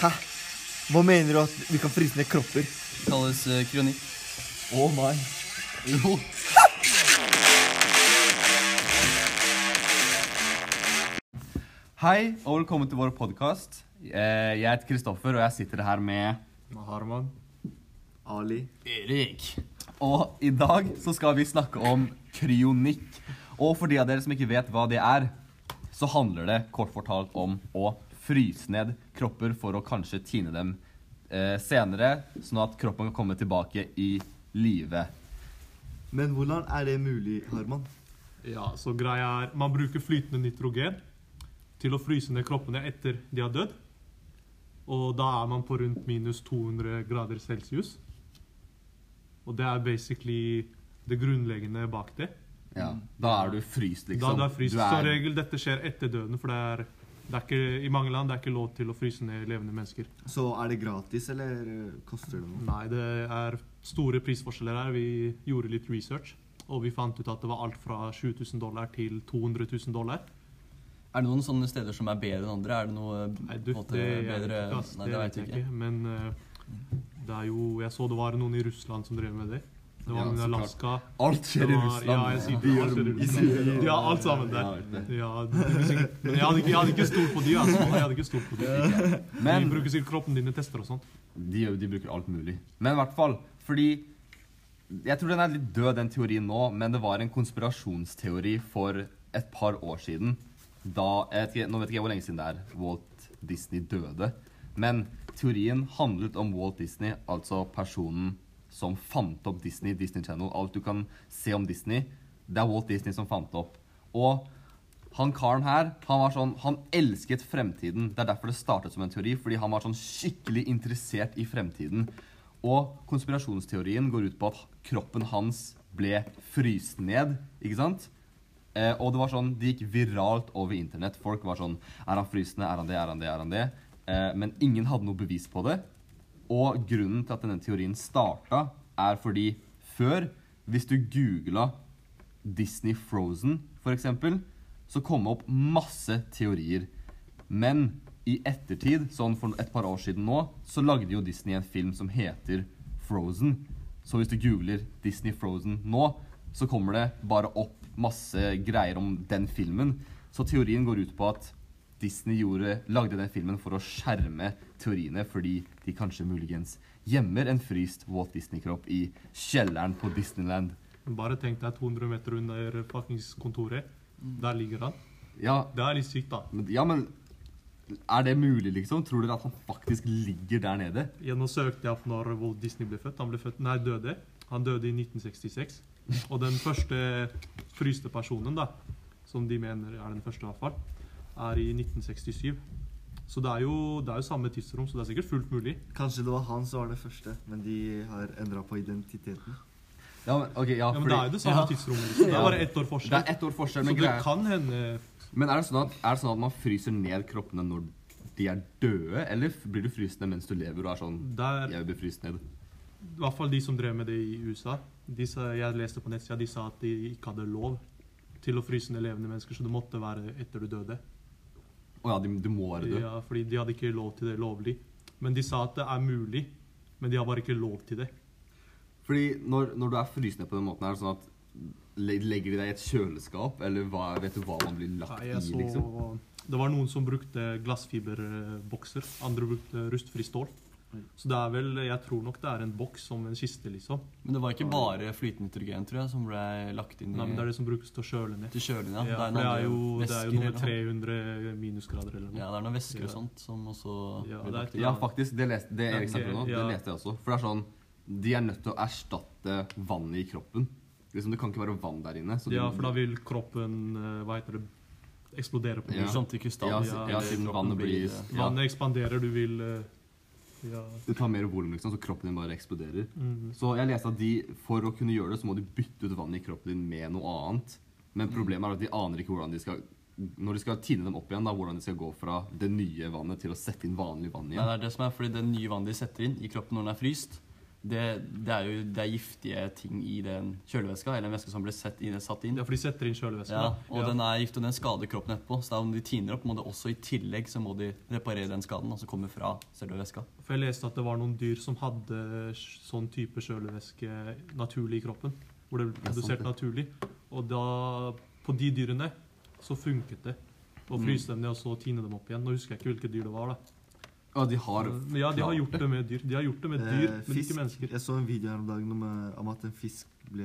Hæ? Hva mener du at vi kan fryse ned kropper? Det kalles eh, kronikk. Å nei. Jo. Hei, og velkommen til vår podkast. Jeg heter Kristoffer, og jeg sitter her med Harman. Ali. Erik. Og i dag så skal vi snakke om kryonikk. Og for de av dere som ikke vet hva det er, så handler det kort fortalt om å fryse ned kropper for å kanskje tine dem eh, senere, sånn at kroppen kan komme tilbake i live. Men hvordan er det mulig, Harman? Ja, så greia er Man bruker flytende nitrogen til å fryse ned kroppene etter de har dødd. Og da er man på rundt minus 200 grader celsius. Og det er basically det grunnleggende bak det. Ja, Da er du fryst, Mm. Da liksom. du er fryst, Du Som regel dette skjer etter døden, for det er, det er ikke, i mange land det er ikke lov til å fryse ned levende mennesker. Så er det gratis, eller eh, koster det noe? Nei, det er store prisforskjeller her. Vi gjorde litt research, og vi fant ut at det var alt fra 7000 dollar til 200 000 dollar. Er det noen sånne steder som er bedre enn andre? Er det noe Nei, du, på en måte, det jeg vet bedre ikke, ass. Nei, det vet jeg ikke. Men eh, det er jo Jeg så det var noen i Russland som drev med det. Det var Ja, noen i så klart. Alaska. Alt skjer i Det var- Russland. Ja, jeg sier det. Alt skjer i Russland. De har alt sammen Ja, der. jeg vet det. Ja, det blir sikkert, men jeg hadde ikke, jeg hadde ikke stolt på de, altså. Jeg hadde ikke stolt på de. Men De bruker sikkert kroppen din i tester og sånt. de, de bruker alt mulig. Men i hvert fall, fordi Jeg tror den er litt død, den teorien nå, men det var en konspirasjonsteori for et par år siden. Da jeg vet ikke, Nå vet ikke jeg hvor lenge siden det er Walt Disney døde. Men teorien handlet om Walt Disney, altså personen som fant opp Disney, Disney Channel. Alt du kan se om Disney, det er Walt Disney som fant det opp. Og han karen her, han var sånn, han elsket fremtiden. Det er derfor det startet som en teori, fordi han var sånn skikkelig interessert i fremtiden. Og konspirasjonsteorien går ut på at kroppen hans ble fryst ned, ikke sant? Eh, og det var sånn, det gikk viralt over internett. Folk var sånn, er han frysende, er han det, er han det, er han det? Eh, men ingen hadde noe bevis på det. Og grunnen til at denne teorien starta, er fordi før, hvis du googla Disney Frozen, for eksempel, så kom det opp masse teorier. Men i ettertid, sånn for et par år siden nå, så lagde jo Disney en film som heter Frozen. Så hvis du googler Disney Frozen nå, så kommer det bare opp masse greier om den filmen. Så teorien går ut på at Disney gjorde, lagde den filmen for å skjerme teoriene fordi de kanskje muligens gjemmer en fryst Walt Disney-kropp i kjelleren på Disneyland. Bare tenk deg 200 meter under fuckings kontoret. Mm. Der ligger han. Ja, Det er litt sykt, da. men, ja, men er det mulig, liksom? Tror dere at han faktisk ligger der nede? Ja, nå søkte jeg opp når Walt Disney ble født. Han ble født, nei, døde. Han døde i 1966. Og den første fryste personen, da, som de mener er den første, i hvert fall, er i 1967. Så det er jo, det er jo samme tidsrom, så det er sikkert fullt mulig. Kanskje det var han som var det første, men de har endra på identiteten. Ja, men, ok, ja, Ja, men fordi, det er jo det samme tidsrommet. Liksom. Det er bare ett år det forskjell. er ett år forskjell, Så men det greier. kan hende eh, Men er det, sånn at, er det sånn at man fryser ned kroppene når de er døde, eller f- blir du frysende mens du lever og er sånn der Jeg blir fryst ned. I hvert fall de som drev med det i USA. De sa, jeg leste på nettsida de sa at de ikke hadde lov til å fryse ned levende mennesker, så det måtte være etter du døde. Å ja, du, du må være død. Ja, fordi de hadde ikke lov til det lovlig. Men de sa at det er mulig, men de har bare ikke lov til det. Fordi når, når du er fryst ned på den måten, er det sånn at le- Legger de deg i et kjøleskap, eller hva, vet du hva man blir lagt Nei, jeg i, liksom? så, det var noen som brukte glassfiberbokser, andre brukte rustfri stål. Så det er vel, jeg tror nok det er en boks som en kiste, liksom. Men det var ikke bare flytende nitrogen tror jeg, som ble lagt inn i, Nei, men det er det som brukes til å kjøle ned. til kjølen. Ja, Mm. Ja. for en det er andre jo, det er jo noe med væsker eller 300 minusgrader eller noe. Ja, noe. det er noen væsker Ja. og sånt som også Ja, blir det er- lagt inn. Ja, faktisk. Det, leste, det Ja, Erik snakker om nå, ja. det leste jeg også. For det er sånn De er nødt til å erstatte vannet i kroppen. Liksom, Det kan ikke være vann der inne. Så de, Ja, for da vil kroppen, eh, hva heter det, eksplodere på Det Ja. blir noe. sånn til krystall. ja, s- ja, ja, siden kroppen vannet blir blir, ja, Vannet ekspanderer, du vil... eh, Ja. Det tar mer volum, liksom, så kroppen din bare eksploderer. Mhm. Så jeg leste at de, for å kunne gjøre det, så må de bytte ut vannet i kroppen din med noe annet. Mm. Men problemet er at de aner ikke hvordan de skal Når de skal tine dem opp igjen, da, hvordan de skal gå fra det nye vannet til å sette inn vanlig vann Nei, igjen. det er det som er fordi det nye vannet de setter inn i kroppen når den er fryst, Det, det er jo det er giftige ting i den kjølevæska, eller en væske som ble sett inn, satt inn. Ja, for de setter inn kjølevæske. Ja, da. og den er gift, og den skader kroppen etterpå. Så da om de tiner opp, må det også i tillegg så må de reparere den skaden. Altså komme fra selve væska. For jeg leste at det var noen dyr som hadde sj- sånn type kjølevæske naturlig i kroppen. Hvor det ble Ja, sant produsert det. naturlig. Og da, på de dyrene så funket det. Å Mm. fryse dem ned og så tine dem opp igjen. Nå husker jeg ikke hvilke dyr det var. da. Og de har Men ja, de har gjort det med dyr. De har gjort det med dyr, Eh, men fisk. ikke mennesker. Jeg så en video her om dagen om, eh, om at en fisk ble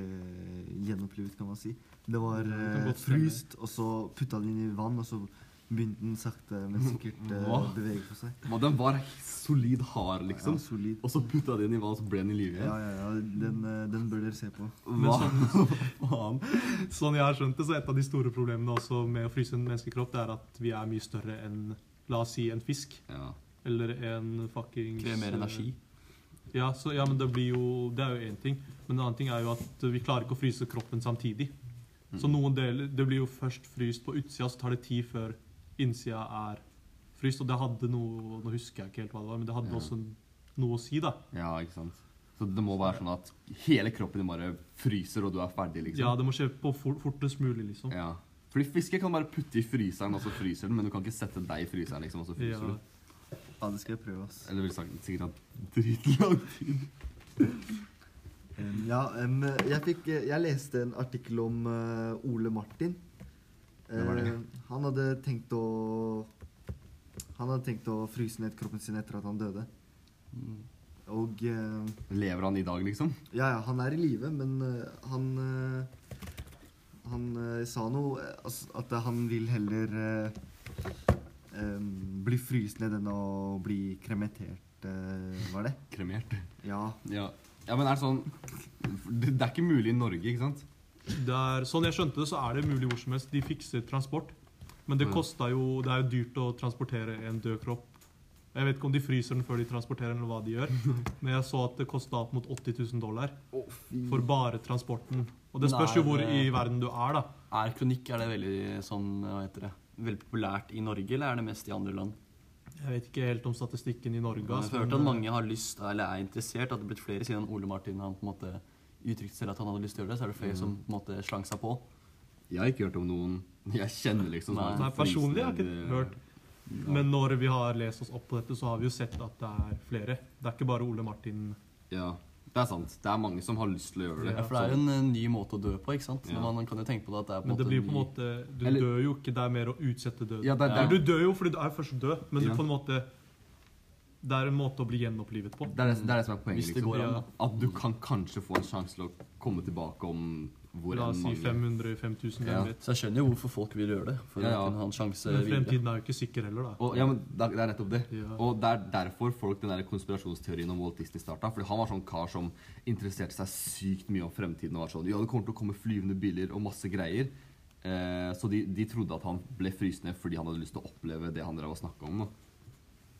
gjenopplivet, kan man si. Det var Det kan eh, godt stemme. fryst, og så putta den inn i vann, og så begynte den sakte, men sikkert eh, å Hva? bevege på seg. Men den var solid hard, liksom. Ja, solid. Og så putta de den i vann, og så ble den i live Ja, ja, igjen. ja. Den, eh, den bør dere se på. Men Hva sånn, faen? sånn jeg har skjønt det, så er et av de store problemene også med å fryse en menneskekropp, det er at vi er mye større enn La oss si en fisk. Ja. Eller en fuckings eh, Krever mer energi. Ja, så, ja, men det blir jo Det er jo én ting. Men en annen ting er jo at vi klarer ikke å fryse kroppen samtidig. Så noen deler Det blir jo først fryst på utsida, så tar det tid før innsida er fryst. Og det hadde noe Nå husker jeg ikke helt hva det var, men det hadde Ja. også noe å si, da. ja, ikke sant. Så det må være sånn at hele kroppen din bare fryser, og du er ferdig, Ja, liksom. det må skje på for, fortest mulig, liksom. Ja. Fordi fisker kan bare putte i fryseren, og så fryser den, men du kan ikke sette deg i fryseren, liksom, og så fryser Ja. du. Ja, det skal jeg prøve, ass. Eller vil sagt sikkert at dritlang tid. Um, ja, um, jeg, fikk, jeg leste en artikkel om eh, Ole Martin. Hvem var det? Eh, han hadde tenkt å Han hadde tenkt å fryse ned kroppen sin etter at han døde. Mm. Og eh, Lever han i dag, liksom? Ja, ja, han er i live, men eh, han eh, Han eh, sa noe eh, altså, At han vil heller eh, em, bli fryst ned enn å bli kremetert, eh, var det? Kremert. Ja. Ja. ja, men er det sånn Det det er ikke mulig i Norge, ikke sant? Det er, sånn jeg skjønte det, så er det mulig hvor som helst. De fikser transport. Men Mm. det Ja. kosta jo Det er jo dyrt å transportere en død kropp. Jeg vet ikke om de fryser den før de transporterer den, eller hva de gjør. Men jeg så at det kosta opp mot 80 000 dollar for bare transporten. Og det spørs jo Nei, hvor det- i verden du er, da. Er kronikk er det veldig sånn, hva heter det, veldig populært i Norge, eller er det mest i andre land? Jeg vet ikke helt om statistikken i Norge. Jeg har ass, hørt men- at mange har lyst, eller er interessert, at det er blitt flere siden Ole Martin han på en måte uttrykte selv at han hadde lyst til å gjøre det, så er det flere som på en måte slang seg på. Jeg har ikke hørt om noen jeg kjenner, liksom. som Nei. er Nei, personlig har jeg frysende- ikke hørt. Men når vi har lest oss opp på dette, så har vi jo sett at det er flere. Det er ikke bare Ole Martin. Ja, det er sant. Det er mange som har lyst til å gjøre det. Ja, for det er jo en eh, ny måte å dø på, ikke sant? Ja. Men man kan jo tenke på det at det er på en Men det måte blir på en ny- måte Du Eller- dør jo ikke, det er mer å utsette døden. Ja, det, er- det, Eller er- du dør jo fordi du er først død, men du Ja. på en måte Det er en måte å bli gjenopplivet på. det, er det, det er det som er poenget. Hvis det Liksom. går an, Ja. da. At du kan kanskje få en sjanse til å komme tilbake om hvor La enn oss si mange 500-5000, hvem Ja. vet. Så jeg skjønner jo hvorfor folk vil gjøre det, for Ja, ja. å kunne ha en sjanse Men videre. fremtiden er jo ikke sikker heller, da. og, ja, men det er det er nettopp det. Ja. Og det er derfor folk den der konspirasjonsteorien om Walt Disney starta. Fordi han var sånn kar som interesserte seg sykt mye om fremtiden. Og var sånn, ja, det kommer til å komme flyvende biler og masse greier. Eh, så de, de trodde at han ble fryst ned fordi han hadde lyst til å oppleve det han drev og snakka om. Da.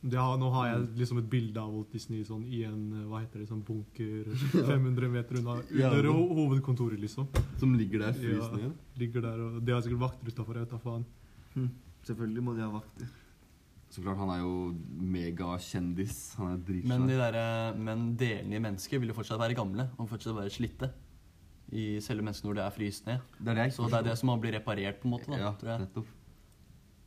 Det har, nå har jeg liksom et bilde av Walt Disney sånn, i en eh, hva heter det, sånn bunker 500 meter unna Ja. under ho hovedkontoret, liksom. Som ligger der Ja, fryst ned. ligger der, og De har sikkert vakter utafor, jeg vet da faen. Selvfølgelig må de ha vakter. Så klart, han er jo megakjendis. Han er dritsvær. Men, de der, eh, men delene i mennesket vil jo fortsatt være gamle og fortsatt være slitte. I selve mennesket når det er fryst ned. Det er det jeg Så det er det som må bli reparert, på en måte. da, ja, tror jeg. nettopp.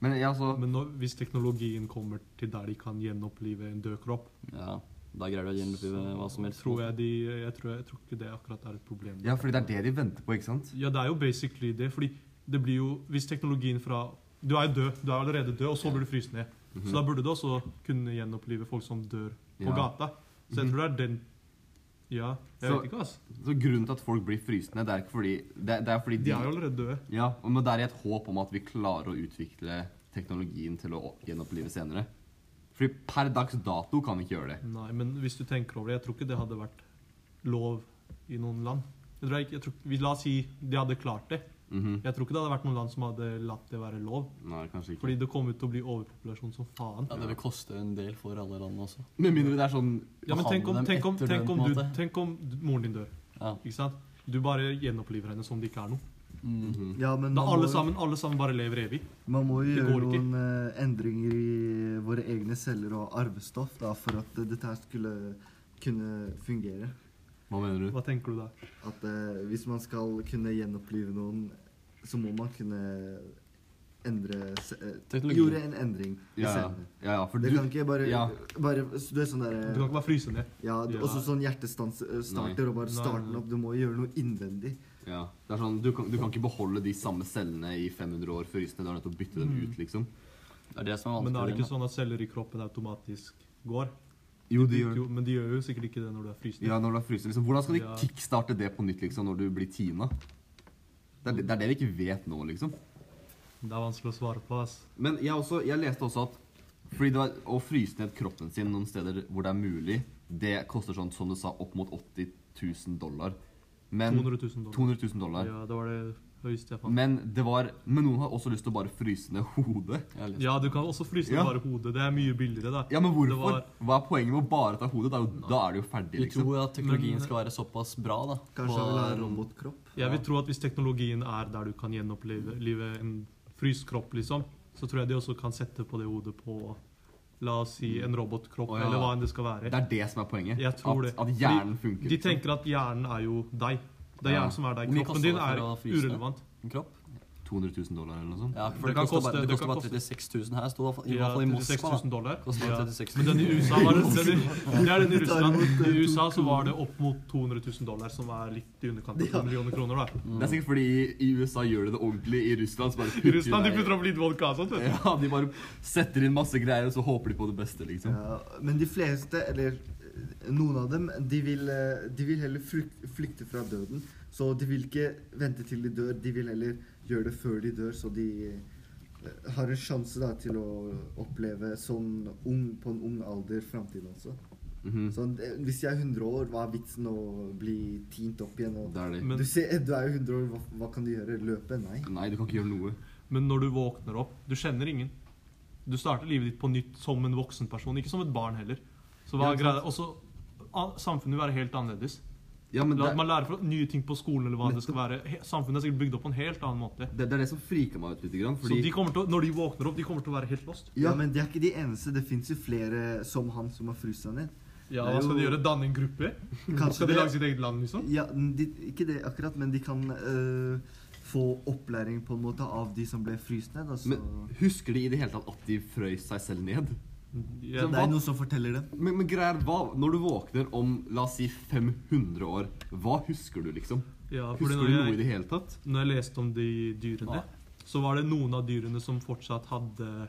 Men ja, så Men nå, hvis teknologien kommer til der de kan gjenopplive en død kropp, Ja, Da greier du å gjenopplive eh, hva som helst. tror jeg de Jeg tror, jeg tror ikke det akkurat er et problem. Ja, fordi det er det de venter på, ikke sant? Ja, det er jo basically det. Fordi det blir jo Hvis teknologien fra Du er jo død. Du er allerede død, og så blir du fryst ned. Så da burde du også kunne gjenopplive folk som dør på Mhm. Ja. Mhm. gata. Så jeg tror det er den Ja, jeg Så- vet ikke, altså. Så grunnen til at folk blir frysende, det er ikke fordi Det, det er fordi De er jo allerede døde. Ja, men det er i et håp om at vi klarer å utvikle teknologien til å gjenopplive senere. Fordi per dags dato kan vi ikke gjøre det. Nei, men hvis du tenker over det, jeg tror ikke det hadde vært lov i noen land. Jeg tror ikke, jeg tror, vi- la oss si de hadde klart det. Mhm. Jeg tror ikke det hadde vært noen land som hadde latt det være lov. Nei, kanskje ikke. Fordi det kom ut til å bli overpopulasjon som faen. Ja, Det vil koste en del for alle land også. Med mindre det er sånn Ja, men tenk om, behandle dem tenk om, etter tenk døden, om, på en du, måte. tenk om d- moren din dør. Ja. Ikke sant? Du bare gjenoppliver henne som det ikke er noe. Mm. Mhm. Ja, men Da man alle må jo- sammen, alle sammen bare lever evig. Man må jo Det gjøre går ikke. noen eh, endringer i våre egne celler og arvestoff da, for at eh, dette her skulle kunne fungere. Hva mener du? Hva tenker du der? At eh, hvis man skal kunne gjenopplive noen, så må man kunne endre se, eh, Teknologi. Gjorde en endring i Ja, ja. scenen. ja, ja for Det du kan ikke bare, ja. bare Du er sånn Du kan derre ikke bare fryse ned. ja, Ja. Også sånn hjertestarter og bare Nei, starte nei. den opp. Du må gjøre noe innvendig. ja. Det er sånn, du kan, du kan ikke beholde de samme cellene i 500 år frysende. Du er nødt til å bytte Mm. dem ut, liksom. Det er det som er vanskelig. Men da er det ikke sånn at celler i kroppen automatisk går. Jo, De de gikk gjør jo, men de gjør jo sikkert ikke det når du er fryst ned. Ja, når du har fryst liksom. Hvordan skal de Ja. kickstarte det på nytt liksom, når du blir tina? Det er det, det er det vi ikke vet nå, liksom. Det er vanskelig å svare på. ass. Men jeg, også, jeg leste også at fordi det var, å fryse ned kroppen sin noen steder hvor det er mulig, det koster sånn, som du sa, opp mot 80 000 dollar. Men 200 200 000 dollar. 000 dollar. Ja, det var det høyeste jeg fant. Men, det var, men noen har også lyst til å bare fryse ned hodet. Ja, du kan også fryse ned Ja. bare hodet. Det er mye billigere, da. Ja, men Det hvorfor? var- Hva er poenget med å bare ta hodet? Det er jo, da er det jo ferdig, Vi liksom. tror at teknologien Men- skal være såpass bra, da. Kanskje han vil ha på- en robotkropp. Jeg vil tro at hvis teknologien er der du kan gjenopplive live en fryst kropp, liksom, så tror jeg de også kan sette på det hodet på La oss si en robotkropp, Å, ja. eller hva enn det skal Det være. er det som er poenget. Jeg tror at, det. at hjernen funker. De liksom. tenker at hjernen er jo deg. Det er Ja. hjernen som er deg. Hvor mye Kroppen din koster er det for å fryse det? urelevant. En kropp. 200 000 dollar eller noe sånt. Ja, for Det det, kan koster koste- bare, det det koster kan bare koste- 36 000 her, sto det i hvert fall- i Ja, hvert fall i 36 Moskva. 000 dollar. da. Koster bare Ja. 36 Men 000. den i USA var det, den i, det er den i Russland. imot, eh, I USA så var det opp mot 200 000 dollar, som er litt i underkant av Ja. 2 millioner kroner. da. Det er sikkert fordi i, i USA gjør de det ordentlig, i Russland så bare I putter Russland de deg- putter opp litt vodka og sånt. vet du. Ja, de bare setter inn masse greier, og så håper de på det beste, liksom. Ja, men de fleste, eller eh, noen av dem, de vil, eh, de vil heller flyk- flykte fra døden. Så de vil ikke vente til de dør, de vil heller gjøre det før de dør, så de eh, har en sjanse da, til å oppleve sånn ung, på en ung alder framtiden også. Mhm. Sånn, eh, hvis jeg er 100 år, hva er vitsen å bli tint opp igjen? Og Det er det. Men- du, ser, eh, du er jo 100 år, hva, hva kan du gjøre? Løpe? Nei. Nei, du kan ikke gjøre noe. Men når du våkner opp Du kjenner ingen. Du starter livet ditt på nytt som en voksen person, ikke som et barn heller. Så hva Ja, er ikke greia? Også, an- samfunnet vil være helt annerledes. Ja, men La, det, man lærer fra nye ting på skolen. eller hva det skal være. He- Samfunnet er sikkert bygd opp på en helt annen måte. det, det er det som friker meg ut litt, grann, Så de fordi kommer til, å- Når de våkner opp, de kommer til å være helt lost. Ja, men de er ikke de eneste. Det fins jo flere som han som har fryst seg ned. Ja, Det er Hva skal de jo- gjøre? Danne en gruppe? Skal de det- lage sitt eget land? liksom? Ja, de, ikke det akkurat, men de kan øh, få opplæring på en måte av de som ble fryst ned. Altså. men, Husker de i det hele tatt at de frøys seg selv ned? Ja, det er noe som forteller dem. Men, men greier, hva, når du våkner om, la oss si, 500 år, hva husker du, liksom? ja, fordi Husker når du noe i jeg, det hele tatt? når jeg leste om de dyrene, Ja. så var det noen av dyrene som fortsatt hadde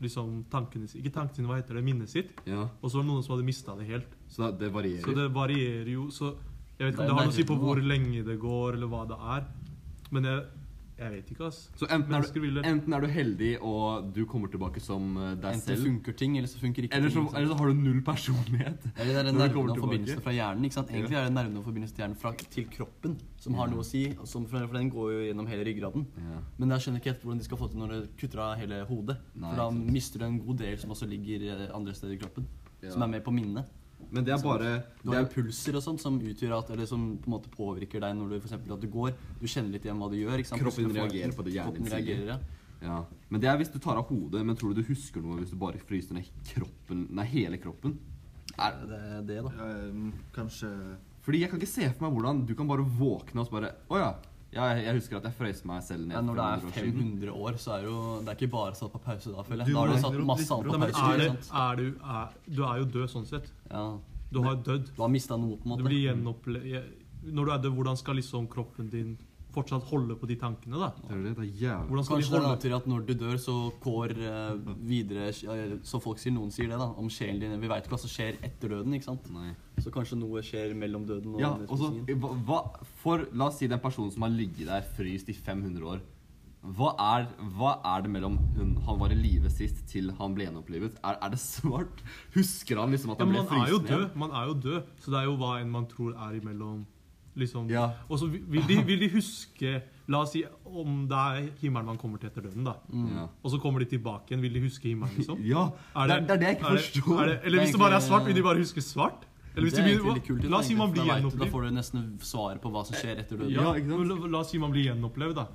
liksom tankene sine Ikke tankene sine, hva heter det? Minnet sitt. Ja, Og så var det noen som hadde mista det helt. så det, det varierer. Så det varierer jo. Så jeg vet Det ikke er om det har noe å si på nærheten, hvor da. lenge det går, eller hva det er. Men jeg, jeg vet ikke, ass. Så enten er, Mennesker du, vil det. enten er du heldig og du kommer tilbake som eh, deg Enten selv, funker ting, eller så funker ikke eller så, ting. ikke sant? eller så har du null personlighet. Eller det er Når du den nerven kommer og forbindelsen tilbake. fra hjernen. ikke sant? Egentlig er det nerven og forbindelsen til hjernen fra, til kroppen som har noe å si. og Som, for den går jo gjennom hele ryggraden. Ja. Men jeg skjønner ikke helt hvordan de skal få til når du kutter av hele hodet. Nei, for da ikke sant. mister du en god del som også ligger eh, andre steder i kroppen. Ja. Som er med på minnet. Men det er bare Du det er, har impulser og sånt som utgjør at, eller som på en måte påvirker deg når du for eksempel, at du går. Du kjenner litt igjen hva du gjør. ikke sant? Kroppen Plutselig får- reagerer på det hjernen kroppen sier. reagerer, ja. Ja, men det er hvis du tar av hodet, men tror du du husker noe hvis du bare fryser ned kroppen, nei, hele kroppen? Er, Det er det, da. Ehm, kanskje fordi jeg kan ikke se for meg hvordan du kan bare våkne og så bare, åja, jeg, jeg husker at jeg frøs meg selv ned Men når det er for 100 år siden». 500 år, så er jo, det er ikke bare satt på pause da, føler Du jeg. Da har du våkner satt opp litt Nei, masse annet på men pause. er det, ikke sant? er du, er, du er jo død sånn sett. Ja. Du har dødd. Du har mista noe, på en Du måte. blir gjenopplevd Når du er død, hvordan skal liksom kroppen din fortsatt holde på de tankene, da? Det er det, det er jævlig. Hvordan skal Kanskje de det er holde antyder at når du dør, så går eh, videre eh, Som folk sier, noen sier det, da. Om sjelen din Vi veit ikke hva som skjer etter døden, ikke sant? Nei. Så kanskje noe skjer mellom døden og Ja, den og så, frysingen. hva, hva- for, la oss si den personen som har ligget der fryst i 500 år, hva er, hva er det mellom hun, han var i livet sist til han ble gjenopplivet? Er, er det svart? Husker han liksom at Ja, han men ble man er jo fryst ned? død. Man er jo død. Så det er jo hva enn man tror er imellom. Liksom. Ja. Og så vil de, vil de huske La oss si om det er himmelen man kommer til etter døden, da. Mm. Ja. Og så kommer de tilbake igjen. Vil de huske himmelen, liksom? Ja, det, er- det er det jeg ikke Mm. er det- forstår. er det- eller Det er hvis det bare er egentlig- svart, vil de bare huske svart? Eller hvis de Det er blir, egentlig litt kult. la oss si man egentlig, blir for da vet du- Da gjenopplevd. får du nesten svaret på hva som skjer etter døden. Ja, Ja, ikke sant? la- la oss si man blir gjenopplevd, da.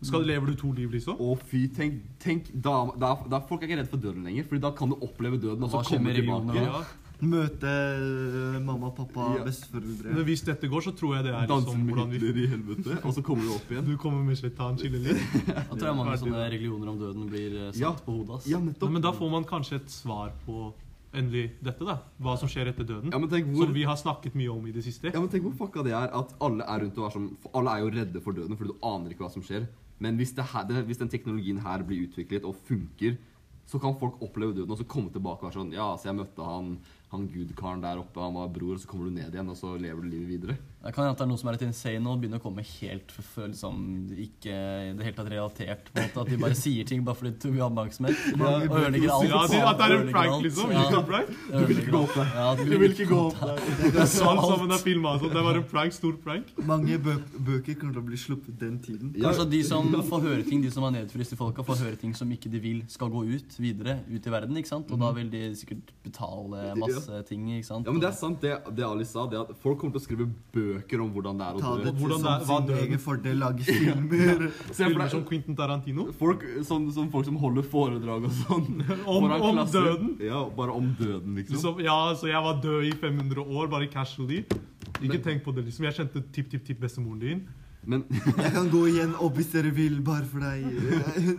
Skal, lever du to liv, liksom? Å fy, tenk, tenk da, da, da Folk er ikke redd for døden lenger, Fordi da kan du oppleve døden og så Hva skjer komme med religionen tilbake. da? Ja. Møte eh, mamma, pappa, Ja. besteforeldre. Men hvis dette går, så tror jeg det er Danser liksom med hvordan vi Hitler i helvete, og så kommer du opp igjen. Du kommer med slitan, chiller litt. Jeg tror jeg mange Ferdig. sånne religioner om døden blir eh, satt Ja. på hodet. ass. Ja, Nei, nettopp. men da får man kanskje et svar på endelig dette, da. Hva som skjer etter døden. Ja, men tenk hvor Som vi har snakket mye om i det siste. Ja, men tenk hvor fucka det er at alle er rundt og er som for Alle er jo redde for døden, fordi du aner ikke hva som skjer. Men hvis, det her, det, hvis den teknologien her blir utviklet og funker, så kan folk oppleve døden og så komme tilbake og være sånn Ja, så jeg møtte han, han gudkaren der oppe, han var bror, og så kommer du ned igjen, og så lever du livet videre. Det kan hende at det er noe som er litt insane og begynner å komme helt for, for liksom, ikke i det hele tatt relatert. på en måte At de bare sier ting bare fordi de vil ha oppmerksomhet. Og ødelegger alt. Ja, de, at det er en Ødelegger prank, alt. liksom. Ja, Ikke en prank. ødelegger alt. Ja, du vil ikke gå opp der. Alt sammen er filma. Altså. Det var en prank, stor prank. Mange bø bøker kommer til å bli sluppet den tiden. Ja, Kanskje at Altså, de som får høre ting, de som er nedfryst i folka, får høre ting som ikke de vil skal gå ut videre, ut i verden. ikke sant? Mhm. Og da vil de sikkert betale masse ting. ikke sant? ja, men det er sant, det, det Ali sa, det at folk kommer til å skrive bøker om hvordan det er Ta å det dø. til Hvordan som det er- hva sin døden- egen fordel, lage filmer. Se for Filmer som deg Quentin Tarantino. folk, sånn, sånn folk som holder foredrag og sånn. Om, foran om klasser. døden. Ja, bare om døden, liksom. Liksom, ja, så jeg var død i 500 år, bare casually. Ikke tenk på det, liksom. Jeg kjente tipp-tipp-tipp-bestemoren din. Men Jeg kan gå igjen opp hvis dere vil, bare for deg.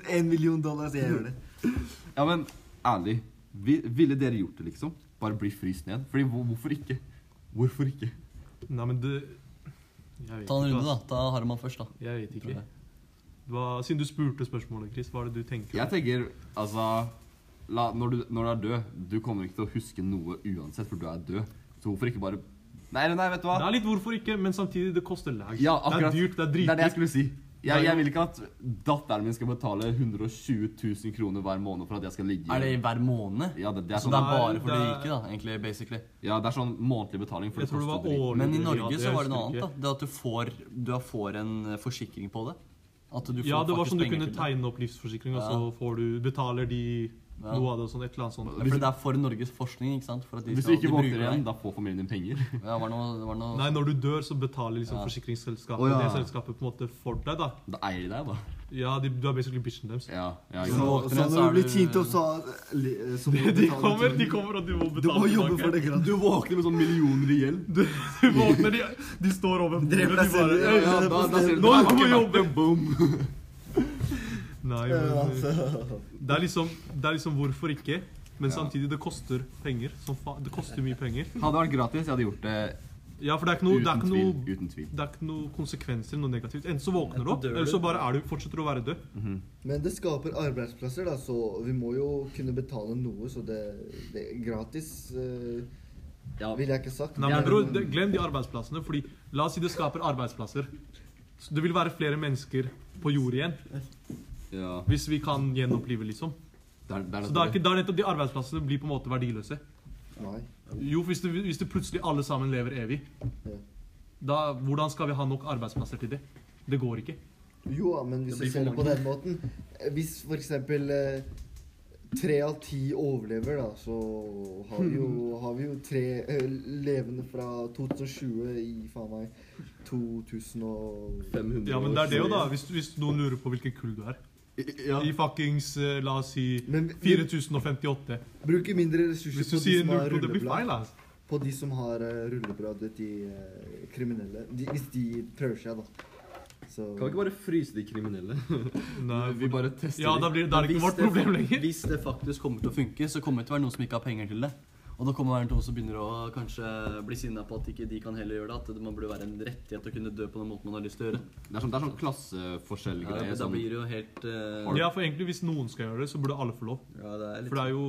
En million dollar, så jeg gjør det. Ja, men ærlig. Vi, ville dere gjort det, liksom? Bare bli fryst ned? Fordi hvor, hvorfor ikke? Hvorfor ikke? Nei, men det Jeg vet Ta en ikke. runde, da. ass. Ta Harman først, da. Jeg vet Tror ikke. jeg. Hva, siden du spurte spørsmålet, Chris, hva er det du tenker? Jeg tenker, altså la, når, du, når du er død, du kommer ikke til å huske noe uansett, for du er død. Så hvorfor ikke bare Nei, nei, vet du hva? Det er litt hvorfor ikke, men samtidig, det koster lag. Ja, det akkurat. er dyrt, det er Det er det jeg dritdyrt. skulle si. Jeg, jeg vil ikke at datteren min skal betale 120 000 kroner hver måned for at jeg skal ligge Er det i hver måned? Ja, det, det er Så sånn, det er Nei, bare for det de er- rike, da, egentlig, basically. ja, det er sånn månedlig betaling. For Jeg tror det var koster dritt. årlig. Men i Ja, Norge så var det noe husker jeg annet, da. Det at du får, du har- får en eh, forsikring på det. At du ikke. får Ja, det var faktisk sånn du penger kunne til det. tegne opp livsforsikring, og så Ja. får du, betaler de Ja. noe av det og sånn, et eller annet Ja, sånt. For det er for Norges forskning, ikke sant? For at de Hvis du skal- de ikke våkner bruker igjen, deg. da får familien din penger. Ja, var det noe, var det noe Nei, når du dør, så betaler liksom Ja. forsikringsselskapet Å, ja. det selskapet på en måte for deg, da. Da eier de deg, da. Ja, de, du er basically bitchen deres. Ja, ja, ikke Så Så, sant? våkner så jeg, når så er du blir du- tint opp, så, eh, så må du De betale kommer, tilbake. de kommer, og du må Du må betale jobbe for det gratis. Du våkner med sånn millioner i gjeld. Du, du våkner, de, de står over bordet, Dreper de deg bare selv. «Øy, Ja, da- da ser du Nå Nei, må vi ikke jobbe! verdt det, boom. Nei, Ja, men, altså. det, er liksom, det er liksom hvorfor ikke. Men samtidig, det koster penger. Som fa det koster mye penger. Hadde det vært gratis, jeg hadde gjort det Ja, for det er ikke noe, uten det er ikke tvil. noe Uten tvil. det er ikke noe konsekvenser, noe negativt. Enten så våkner du opp, Enten dør eller du. så bare er du, fortsetter du å være død. Men det skaper arbeidsplasser, da, så vi må jo kunne betale noe, så det, det er gratis. eh, Ja. Ville jeg ikke sagt. Nei, men bror, det- Glem de arbeidsplassene. fordi La oss si det skaper arbeidsplasser. Så det vil være flere mennesker på jord igjen Ja. hvis vi kan gjenopplive, liksom. Det er, det er Så da er nettopp ikke, da er nettopp de arbeidsplassene blir på en måte verdiløse. Nei. Jo, hvis det, hvis det plutselig alle sammen lever evig, Ja. da hvordan skal vi ha nok arbeidsplasser til det? Det går ikke. Jo, ja, men hvis Det blir du ser det for på den måten eh, Hvis for eksempel eh, tre av ti overlever, da, så har vi jo, har vi jo tre eh, levende fra 2020 i faen meg 2000 og 500 Ja, men det er det jo, da. år. Hvis, hvis noen lurer på hvilket kull du er. Ja. I fuckings, eh, la oss si Men vi- 4058. Bruker mindre ressurser Hvis du på de sier som har null, det blir rulleblad. feil, altså. På de som har eh, rulleblad, vet de eh, kriminelle. De, hvis de prøver seg, da. Så Kan vi ikke bare fryse de kriminelle? Nei, Vi bare tester Ja, da blir det, da er det Men ikke hvis vårt problem fak- lenger. Hvis det faktisk kommer til å funke, så kommer det til å være noen som ikke har penger til det. Og da kommer det være noen som begynner å kanskje bli sinna på at ikke de kan heller gjøre det. At det må burde være en rettighet å kunne dø på den måten man har lyst til å gjøre. Det er sånn, det er sånn Ja, klasseforskjellgreie. men da sånn. blir det jo helt eh, Har du- Ja, for egentlig hvis noen skal gjøre det, så burde alle få lov. ja, det er litt For det er jo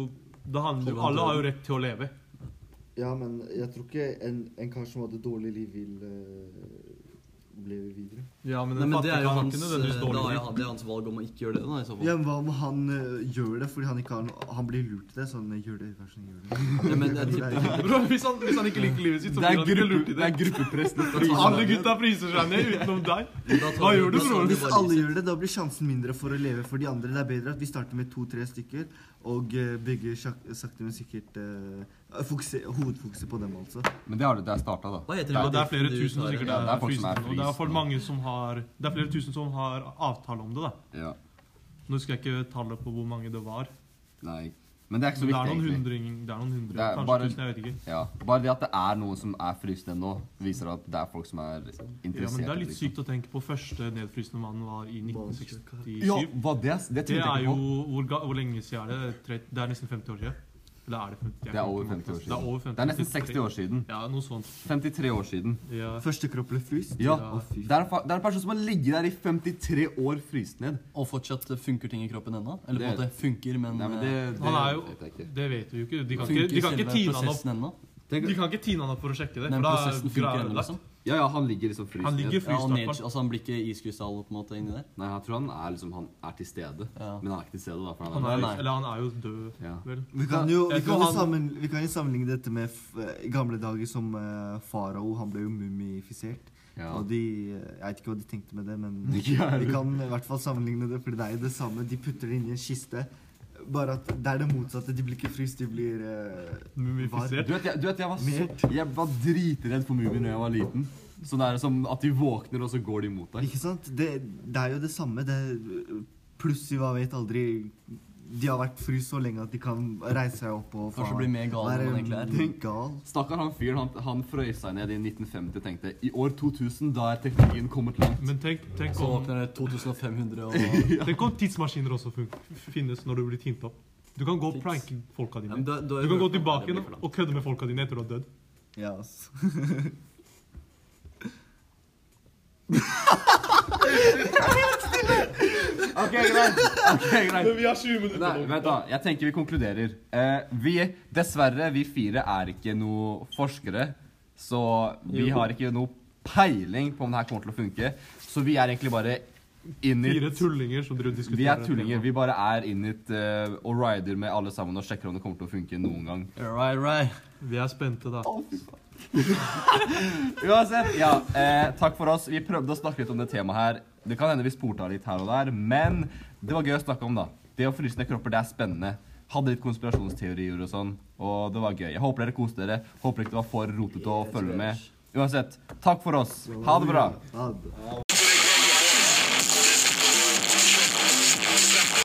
det handler, jo- Alle har jo rett til å leve. Ja, men jeg tror ikke en, en kar som hadde dårlig liv, vil eh, leve videre. Ja, men Nei, den men det fattige er jo har hans, ikke nødvendigvis eh, da er dårlig jo tid. han- det er hans valg om å ikke gjøre det, da, i så fall. Ja, men Hva om han eh, gjør det fordi han ikke har noe Han blir lurt til det. Sånn, gjør det, vær så snill, gjør det. Ja, men jeg tipper Bro, hvis, han, hvis han ikke liker livet sitt, så Det blir er, han ikke gruppe, lurt i det det. er sånn gruppepress. det fryser Alle deg. gutta priser seg ned utenom deg. da tar Hva du- gjør du, da tar bror? du Hvis bare alle risiko. gjør det, da blir sjansen mindre for å leve for de andre. Det er bedre at vi starter med to-tre stykker og eh, bygger sjakk- sakte, men sikkert eh, fokuser- hovedfokuset på dem, altså. Men det har du, det er starta, da. Hva heter Ja, det? det er flere du tusen som tar, sikkert Ja, det er er folk som er frysen. Og det er frysen, for da. mange som har Det er flere tusen som har avtale om det, da. Ja. Nå husker jeg ikke tallet på hvor mange det var. Nei, Men det er ikke så Det viktig, er noen egentlig. hundring, det er noen hundre, Det er kanskje bare- tusen, jeg vet ikke. Ja, Bare det at det er noen som er frysende ennå, viser at det er folk som er liksom. interessert. Ja, men det er i litt sykt å tenke på første nedfrysende mannen var i 1967. Ja, hva det, er- det Det tenkte er jeg jo ikke på. Hvor, ga- hvor lenge siden er det? Tre- Det er nesten 50 år siden. Eller er det 50? Jeg Det er kan over 50 ikke år Det siden. er, over 50, Det er nesten 60 år siden. Ja, noe sånt. 53 år siden. Ja. Første kropp ble fryst? Ja, Å, fy Det er, en fa- det er en person som har ligget der i 53 år fryst ned. Og fortsatt funker ting i kroppen ennå? Eller på en Det- måte funker, men, Nei, men det, det Han er jo vet jeg ikke. Det vet vi jo ikke. De eh, kan ikke, funker de kan ikke selve tine han opp. prosessen ennå? Tenk, De kan ikke tine han opp for å sjekke det. For Den da er prosessen funker ennå, ødelagt. liksom? ja, ja, han ligger liksom fryst Han ned. ligger Ja, og fryst i ned, hvert fall. altså, han blir ikke iskrystall på en måte inni der? Nei, jeg tror han er liksom Han er til stede. Ja. Men han er ikke til stede, da. For Han han er, er, Nei, nei. Eller han er jo død, ja. vel. Vi kan jo vi Jeg kan tror jo han- sammen, vi kan jo sammenligne dette med f eh, gamle dager som eh, farao. Han ble jo mumifisert. Ja. Og de eh, Jeg vet ikke hva de tenkte med det, men Ikke jeg vi heller. kan i hvert fall sammenligne det, for det er jo det samme. De putter det inn i en kiste. Bare at det er det motsatte. De blir ikke fryst, de blir eh, Mumifisert. Du vet, jeg, du vet, jeg var Mer. så Jeg var dritredd for mumier da jeg var liten. Sånn er det som at de våkner, og så går de mot deg. Ikke sant? Det, det er jo det samme. Det, pluss i hva vet aldri De har vært fryst så lenge at de kan reise seg opp og Kanskje bli mer gal enn man egentlig er. er. Gal. Stakkar han fyren. Han, han frøys seg ned i 1950 og tenkte i år 2000, da er teknologien kommet langt. Men tenk, tenk, Så om, åpner det 2500 og ja, tenk om tidsmaskiner også fun finnes når du blir tint opp. Du kan gå og Tids. pranke folka dine. men da- da- Du kan gå det tilbake blir igjen for langt. og kødde med folka dine etter du har dødd. Ja, ass. Ok, greit. Ok, greit. Vi har 20 minutter Nei, vent da, jeg tenker vi konkluderer. Eh, vi, dessverre, vi fire er ikke noe forskere, så vi Jo. har ikke noe peiling på om det her kommer til å funke. Så vi er egentlig bare in it. Fire tullinger som driver og diskuterer. Vi er et tullinger. tema. Vi bare er in it eh, og rider med alle sammen og sjekker om det kommer til å funke noen gang. Right, right. Vi er spente, da. Uansett, ja, eh, takk for oss. Vi prøvde å snakke litt om det temaet her. Det kan hende vi sporta litt her og der, men det var gøy å snakke om, da. Det å fryse ned kropper, det er spennende. Hadde litt konspirasjonsteorier og sånn, og det var gøy. Jeg håper dere koste dere. Håper ikke det var for rotete å følge med. Uansett, takk for oss. Ha det bra. Ha det.